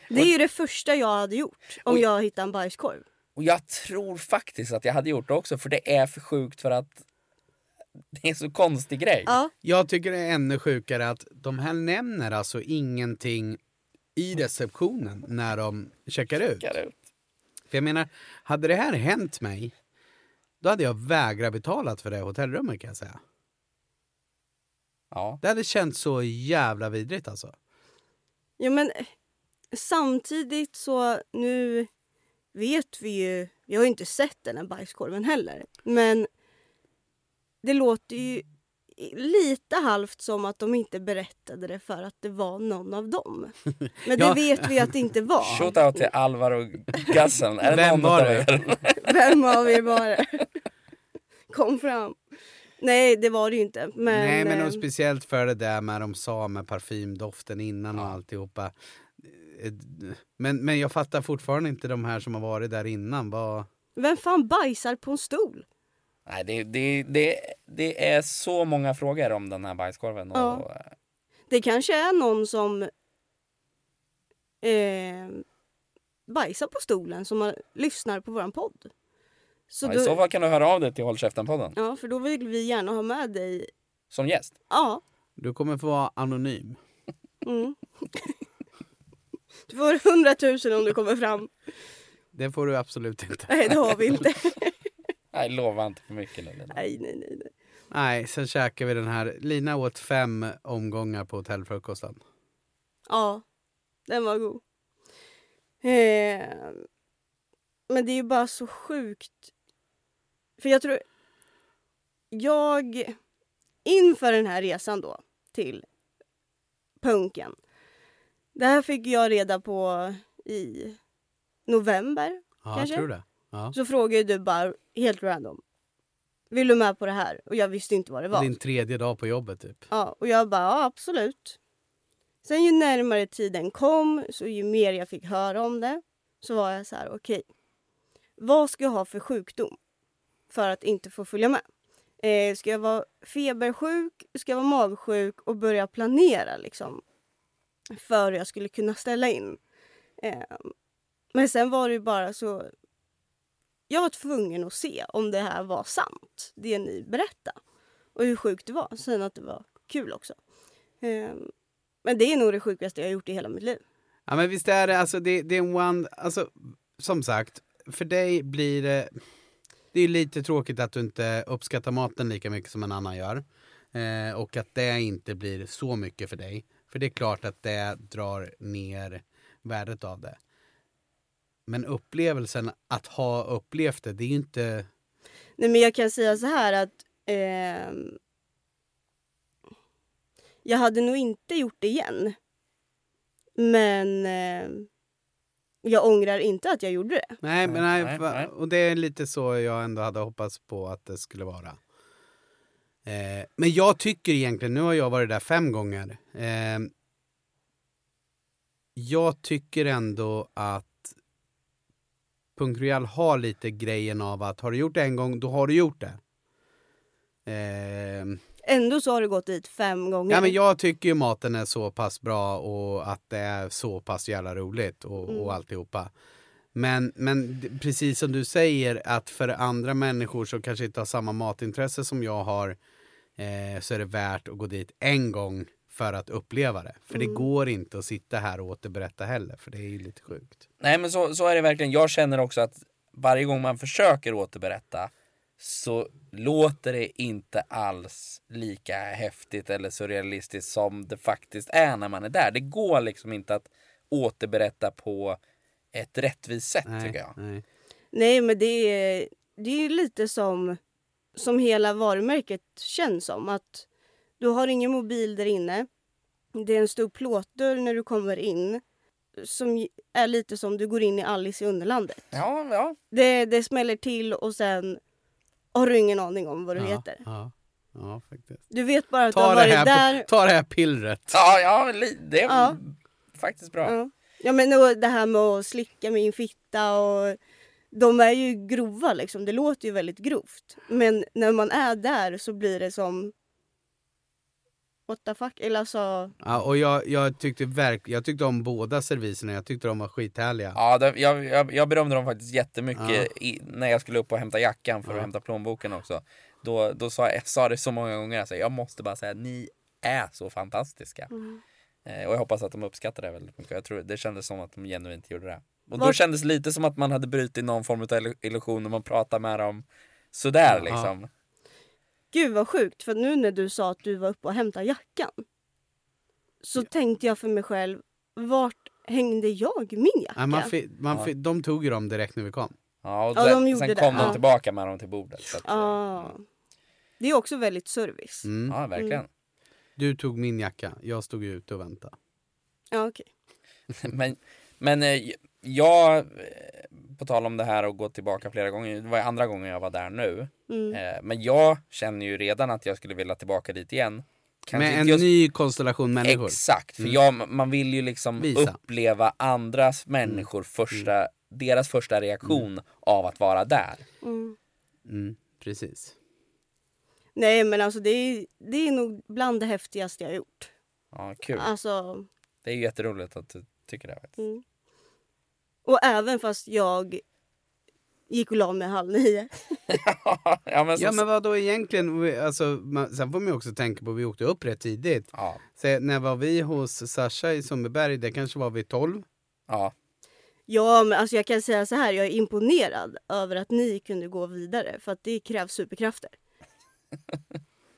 S1: Det är ju det första jag hade gjort om
S3: Oj.
S1: jag hittade en bajskorv.
S3: Och jag tror faktiskt att jag hade gjort det också för det är för sjukt för att det är så konstig grej.
S1: Ja,
S2: Jag tycker det är ännu sjukare att de här nämner alltså ingenting i receptionen när de checkar ut.
S3: Checkar ut.
S2: För jag menar, hade det här hänt mig, då hade jag vägrat betalat för det hotellrummet kan jag säga.
S3: Ja.
S2: Det hade känts så jävla vidrigt alltså.
S1: ja men eh, samtidigt så nu vet vi ju, vi har ju inte sett den här bajskorven heller, men det låter ju lite halvt som att de inte berättade det för att det var någon av dem. Men det
S2: Ja.
S1: vet vi att det inte var.
S3: Shootout till Alvaro och Gassen. Är det
S2: Vem
S3: någon
S2: var
S3: av
S2: det?
S3: er?
S1: Vem av er var det? Kom fram. Nej, det var det ju inte. Men,
S2: Nej, men och
S1: eh,
S2: speciellt för det där med de sa med parfymdoften innan och alltihopa. Eh, Men, men jag fattar fortfarande inte de här som har varit där innan. Vad...
S1: vem fan bajsar på en stol?
S3: Nej, det, det, det, det är så många frågor om den här bajskorven. Och, eh,
S1: Ja. Det kanske är någon som eh, bajsar på stolen som har, lyssnar på våran podd. Så
S3: ja, I
S1: då,
S3: så fall kan du höra av dig till Håll Käften-podden
S1: ja, för då vill vi gärna ha med dig.
S3: som gäst.
S1: Ja.
S2: Du kommer få vara anonym.
S1: Mm. Du får hundratusen om du kommer fram.
S2: Det får du absolut inte.
S1: Nej, det har vi inte.
S3: Nej, lova inte för mycket nu. Lina.
S1: Nej, nej, nej. nej.
S2: Nej, sen käkar vi den här. Lina åt fem omgångar på hotellfrukosten.
S1: Ja, den var god. Eh, men det är ju bara så sjukt. För jag tror... Jag... Inför den här resan då till punken. Det här fick jag reda på i november.
S2: Ja,
S1: Kanske?
S2: jag tror det. Ja.
S1: Så frågade du bara helt random. Vill du med på det här? Och jag visste inte vad det var.
S2: Din tredje dag på jobbet typ.
S1: Ja, och jag bara, ja absolut. Sen ju närmare tiden kom, så ju mer jag fick höra om det, så var jag så här, okej. Vad ska jag ha för sjukdom för att inte få följa med? Eh, ska jag vara febersjuk? Ska jag vara magsjuk? Och börja planera liksom för hur jag skulle kunna ställa in. Eh, men sen var det ju bara så... Jag var tvungen att se om det här var sant, det ni berättade och hur sjukt det var. Sen att det var kul också. Ehm, men det är nog det sjukaste jag har gjort i hela mitt liv.
S2: Ja, men visst är det, alltså det, det är en one, alltså som sagt, för dig blir det, det är lite tråkigt att du inte uppskattar maten lika mycket som en annan gör. Eh, och att det inte blir så mycket för dig. För det är klart att det drar ner värdet av det. Men upplevelsen att ha upplevt det, det är ju inte...
S1: Nej, men jag kan säga så här att ehm, jag hade nog inte gjort det igen. Men ehm, jag ångrar inte att jag gjorde det.
S2: Nej, men nej,
S3: nej,
S2: va-
S3: nej.
S2: och det är lite så jag ändå hade hoppats på att det skulle vara. Eh, men jag tycker egentligen, nu har jag varit där fem gånger. Eh, jag tycker ändå att Punk Royal har lite grejen av att har du gjort det en gång, då har du gjort det. Eh,
S1: Ändå så har du gått dit fem gånger.
S2: Ja, men jag tycker ju maten är så pass bra och att det är så pass jävla roligt och,
S1: Mm.
S2: och alltihopa. Men, men d- precis som du säger att för andra människor som kanske inte har samma matintresse som jag har eh, så är det värt att gå dit en gång för att uppleva det. För det
S1: Mm.
S2: går inte att sitta här och återberätta heller för det är ju lite sjukt.
S3: Nej, men så, så är det verkligen. Jag känner också att varje gång man försöker återberätta så låter det inte alls lika häftigt eller surrealistiskt som det faktiskt är när man är där. Det går liksom inte att återberätta på ett rättvist sätt
S2: Nej,
S3: tycker jag.
S2: nej.
S1: Nej, men det är, det är ju lite som, som hela varumärket känns som. Att du har ingen mobil där inne. Det är en stor plåtdörr när du kommer in. Som är lite som du går in i Alice i Underlandet.
S3: Ja, ja.
S1: Det, det smäller till och sen har du ingen aning om vad du
S2: ja,
S1: heter.
S2: Ja, ja faktiskt.
S1: Du vet bara att du
S2: Ta
S1: har
S2: det, här
S1: varit
S2: där.
S1: där.
S2: ta det här pillret.
S3: Ja, ja, li- det är
S1: Ja.
S3: faktiskt bra.
S1: Ja. ja, men och det här med att slicka min fitta och de är ju grova liksom. Det låter ju väldigt grovt. Men när man är där så blir det som what the fuck? Eller alltså,
S2: Ja, och jag, jag, tyckte verk, jag tyckte om båda serviserna. Jag tyckte de var skithärliga.
S3: Ja, det, jag, jag, jag berömde dem faktiskt jättemycket
S2: Ja.
S3: i, när jag skulle upp och hämta jackan för att
S2: Ja.
S3: hämta plånboken också. Då, då sa jag, jag sa det så många gånger, alltså, jag måste bara säga ni är så fantastiska.
S1: Mm.
S3: Eh, och jag hoppas att de uppskattar det väldigt mycket. Jag tror, det kändes som att de genuint gjorde det. Och då
S1: Var-
S3: kändes det lite som att man hade brutit någon form av illu- illusion när man pratade med dem sådär
S2: Ja.
S3: liksom.
S1: gud vad sjukt. För nu när du sa att du var uppe och hämtade jackan så tänkte jag för mig själv, vart hängde jag min jacka?
S2: Ja, man fi, man
S3: Ja.
S2: fi, de tog ju dem direkt när vi kom.
S3: Ja, och
S1: Ja,
S3: sen,
S1: de gjorde
S3: sen
S1: det.
S3: kom de
S1: Ja.
S3: tillbaka med dem till bordet. Så att, eh,
S1: Ja. Det är också väldigt service.
S2: Mm.
S3: ja, verkligen.
S2: Du tog min jacka, jag stod ju ute och väntade.
S1: Ja, okej.
S3: Men, men eh, jag, eh, på tal om det här och gå tillbaka flera gånger, det var andra gången jag var där nu.
S1: Mm.
S3: Eh, Men jag känner ju redan att jag skulle vilja tillbaka dit igen. Kanske
S2: Med
S3: inte
S2: en
S3: just-
S2: ny konstellation människor. Mm.
S3: Exakt, för jag, man vill ju liksom
S2: Visa. Mm.
S3: uppleva andras människor första, deras första reaktion av att vara där.
S1: Mm.
S2: Mm, precis.
S1: Nej men alltså det är, det är nog bland det häftigaste jag gjort.
S3: Ja, kul.
S2: Ah.
S1: Alltså,
S3: Det är ju jätteroligt att du tycker det. faktiskt.
S1: mm. Och även fast jag gick och la mig halv nio.
S3: ja, men som,
S2: Ja men vad då egentligen, Vi- alltså, man, sen får man ju också tänka på, vi åkte upp rätt tidigt.
S3: ja,
S2: Så när var vi hos Sasha i Sundbyberg, det kanske var vid 12.
S3: ja,
S1: Ja men alltså jag kan säga så här, jag är imponerad över att ni kunde gå vidare för att det krävs superkrafter.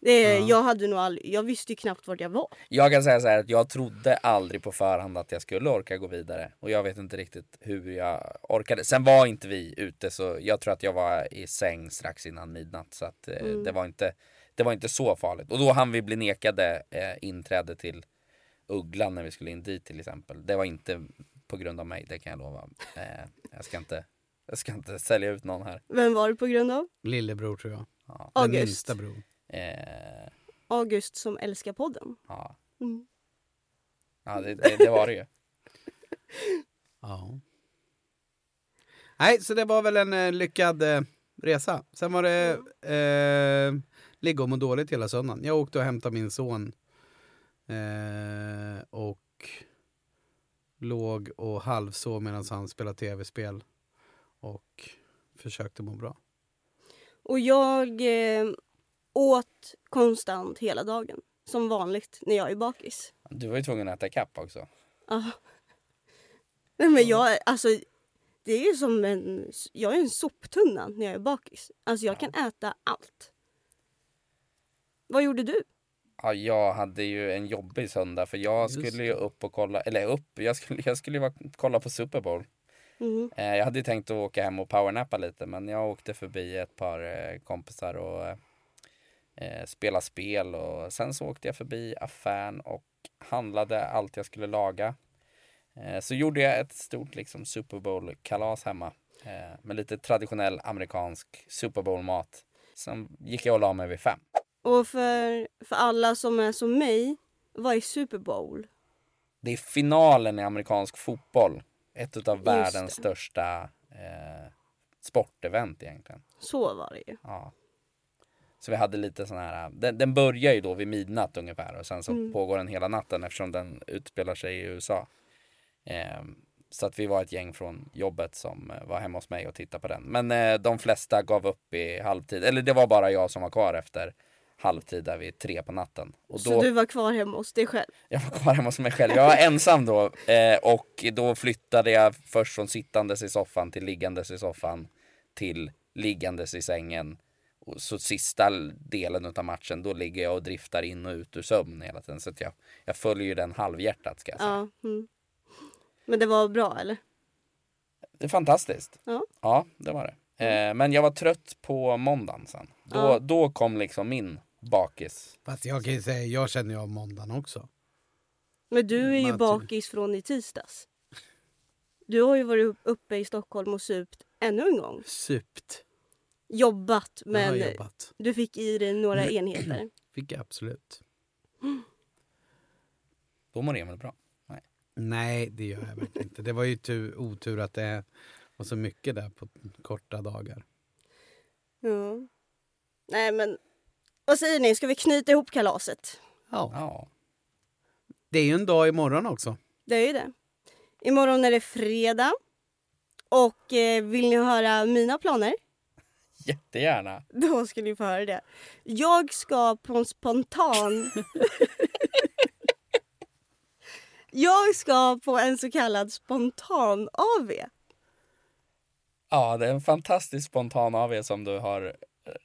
S1: Det, är-
S2: Ja.
S1: jag, hade nog all, jag visste ju knappt vart jag var.
S3: Jag kan säga så här att jag trodde aldrig på förhand att jag skulle orka gå vidare och jag vet inte riktigt hur jag orkade. Sen var inte vi ute så jag tror att jag var i säng strax innan midnatt så att eh,
S1: Mm.
S3: det var inte. Det var inte så farligt och då hann vi bli nekade eh, inträde till Ugglan när vi skulle in dit till exempel. Det var inte på grund av mig, det kan jag lova. Eh, jag ska inte. Jag ska inte sälja ut någon här.
S1: Vem var det på grund av?
S2: Lillebror tror jag.
S3: Ja,
S2: Den
S1: August.
S2: minsta bror.
S3: eh,
S1: August som älskar podden.
S3: ja.
S1: Mm.
S3: ja det, det, det var det ju.
S2: Ja. Nej, så det var väl en eh, lyckad eh, resa. Sen var det eh, ligga och må dåligt hela söndagen. Jag åkte och hämtade min son eh, och låg och halvsov medan han spelade tv-spel och försökte må bra.
S1: Och jag eh, åt konstant hela dagen. Som vanligt när jag är bakis.
S3: Du var ju tvungen att äta kapp också.
S1: Ja. Nej men jag, alltså det är ju som en, jag är en soptunna när jag är bakis. Alltså jag kan äta allt. Vad gjorde du?
S3: Ja, jag hade ju en jobbig söndag för jag
S2: Just
S3: skulle ju upp och kolla, eller upp, jag skulle, jag skulle ju vara- kolla på Super Bowl.
S1: Mhm.
S3: Eh, jag hade ju tänkt att åka hem och powernappa lite men jag åkte förbi ett par eh, kompisar och eh, eh, spela spel och sen så åkte jag förbi affären och handlade allt jag skulle laga. Eh, så gjorde jag ett stort liksom Super Bowl-kalas hemma eh, med lite traditionell amerikansk Super Bowl-mat. Sen gick jag och la mig vid fem.
S1: Och för, för alla som är som mig, vad är Super Bowl?
S3: Det är finalen i amerikansk fotboll. Ett av
S1: Just
S3: världens
S1: det.
S3: största eh, sportevent egentligen.
S1: Så var det ju.
S3: Ja. Så vi hade lite sån här, den, den börjar ju då vid midnatt ungefär och sen så
S1: Mm.
S3: pågår den hela natten eftersom den utspelar sig i USA. Eh, så att vi var ett gäng från jobbet som eh, var hemma hos mig och tittade på den. Men eh, de flesta gav upp i halvtid, eller det var bara jag som var kvar efter halvtid där vid tre på natten. Och
S1: Så du var kvar hemma hos dig själv.
S3: jag var kvar hemma hos mig själv. Jag var ensam då eh, och då flyttade jag först från sittandes i soffan till liggandes i soffan till liggandes i sängen Och så sista delen av matchen, då ligger jag och driftar in och ut ur sömn hela tiden. Så att jag, jag följer ju den halvhjärtat ska jag säga.
S1: Ja. Mm. Men det var bra eller?
S3: Det är fantastiskt.
S1: Ja. Mm.
S3: det var det. Eh, men jag var trött på måndagen sen. Då,
S1: Ja.
S3: då kom liksom min bakis.
S2: Fast jag kan ju säga, jag känner ju av måndagen också.
S1: Men du är ju
S2: Matur.
S1: bakis från i tisdags. Du har ju varit uppe i Stockholm och supt ännu en gång.
S2: Supt.
S1: Jobbat
S2: Jag har
S1: men
S2: jobbat.
S1: du fick i dig några enheter.
S2: Fick jag absolut.
S3: Då mår Emil bra.
S2: Nej, det gör jag verkligen inte. Det var ju tur, otur att det var så mycket där på korta dagar.
S1: Ja. Nej men vad säger ni, ska vi knyta ihop kalaset?
S2: Ja.
S3: Ja.
S2: Det är ju en dag imorgon också.
S1: Det är ju det. Imorgon är det fredag. Och eh, vill ni höra mina planer?
S3: Jättegärna.
S1: Då ska ni få höra det. Jag ska på en spontan... jag ska på en så kallad spontan AV.
S3: Ja, det är en fantastisk spontan AW som du har eh,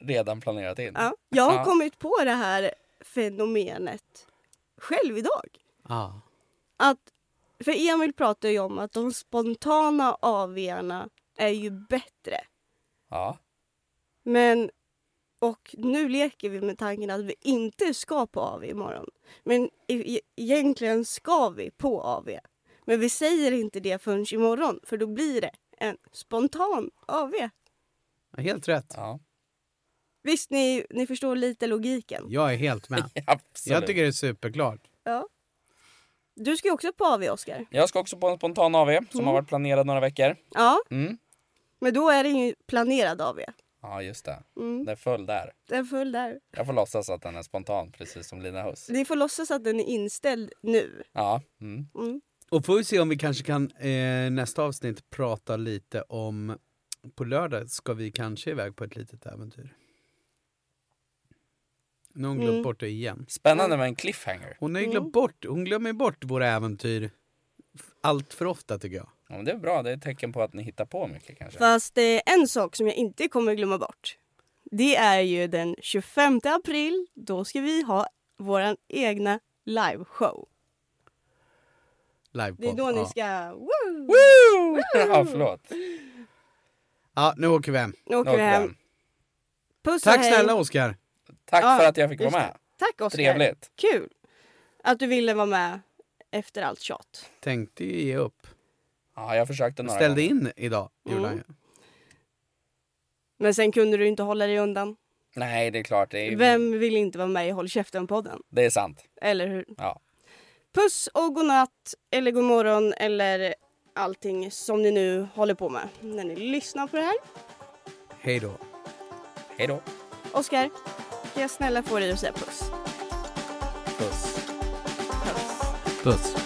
S3: redan planerat in.
S1: Ja. Jag har
S3: Ja.
S1: kommit på det här fenomenet själv idag.
S2: Ja.
S1: Att, för Emil pratar ju om att de spontana AVarna är ju bättre.
S3: Ja.
S1: Men, och nu leker vi med tanken att vi inte ska på AV imorgon. Men e- e- egentligen ska vi på AV. Men vi säger inte det förrän imorgon för då blir det en spontan AV.
S2: Ja, Helt rätt.
S3: ja.
S1: Visst, ni, ni förstår lite logiken?
S2: Jag är helt med.
S3: Absolut.
S2: Jag tycker det är superklart.
S1: Ja. Du ska ju också på AV, Oskar.
S3: Jag ska också på en spontan AV som
S1: Mm.
S3: har varit planerad några veckor.
S1: Ja,
S3: Mm.
S1: men då är det ju planerad AV.
S3: Ja, just det.
S1: Mm,
S3: Den föll där.
S1: den föll där.
S3: Jag får låtsas att den är spontan, precis som Lina Hus.
S1: Ni får låtsas att den är inställd nu.
S3: Ja. Mm.
S1: Mm.
S2: Och får vi se om vi kanske kan eh, nästa avsnitt prata lite om på lördag ska vi kanske iväg på ett litet äventyr. Nu har hon glömt
S1: Mm.
S2: bort det igen.
S3: Spännande med en cliffhanger.
S2: Hon har ju
S1: Mm.
S2: glömt bort, hon glömmer bort våra äventyr f- allt för ofta tycker jag.
S3: Ja, men det är bra. Det är ett tecken på att ni hittar på mycket kanske.
S1: Fast det är en sak som jag inte kommer glömma bort. Det är ju den 25 april. Då ska vi ha vår egna liveshow.
S2: Livepodd.
S1: Det är då ni
S2: ja.
S1: ska... Woo!
S3: Woo! Ja, förlåt.
S2: ja, nu åker vi hem.
S1: Nu åker
S3: Något
S1: vi hem.
S3: grann.
S1: Puss och
S2: Tack
S1: hej.
S2: snälla Oskar.
S3: Tack
S1: Ja,
S3: för att jag fick vara
S1: just
S3: med.
S1: Tack Oskar.
S3: Trevligt.
S1: Kul att du ville vara med efter allt tjat.
S2: Tänkte ju ge upp.
S3: Ja, jag försökte några
S2: Ställde
S3: gånger.
S2: in idag, gjorde
S1: Mm.
S2: han ju.
S1: Men sen kunde du inte hålla dig undan.
S3: Nej, det är klart. Det är,
S1: Vem vill inte vara med i Håll käften-podden?
S3: Det är sant.
S1: Eller hur?
S3: Ja.
S1: Puss och godnatt eller god morgon eller allting som ni nu håller på med när ni lyssnar på det här.
S2: Hej då.
S3: Hej då.
S1: Oskar, kan jag snälla få dig att säga puss?
S3: Puss.
S1: Puss.
S2: Puss.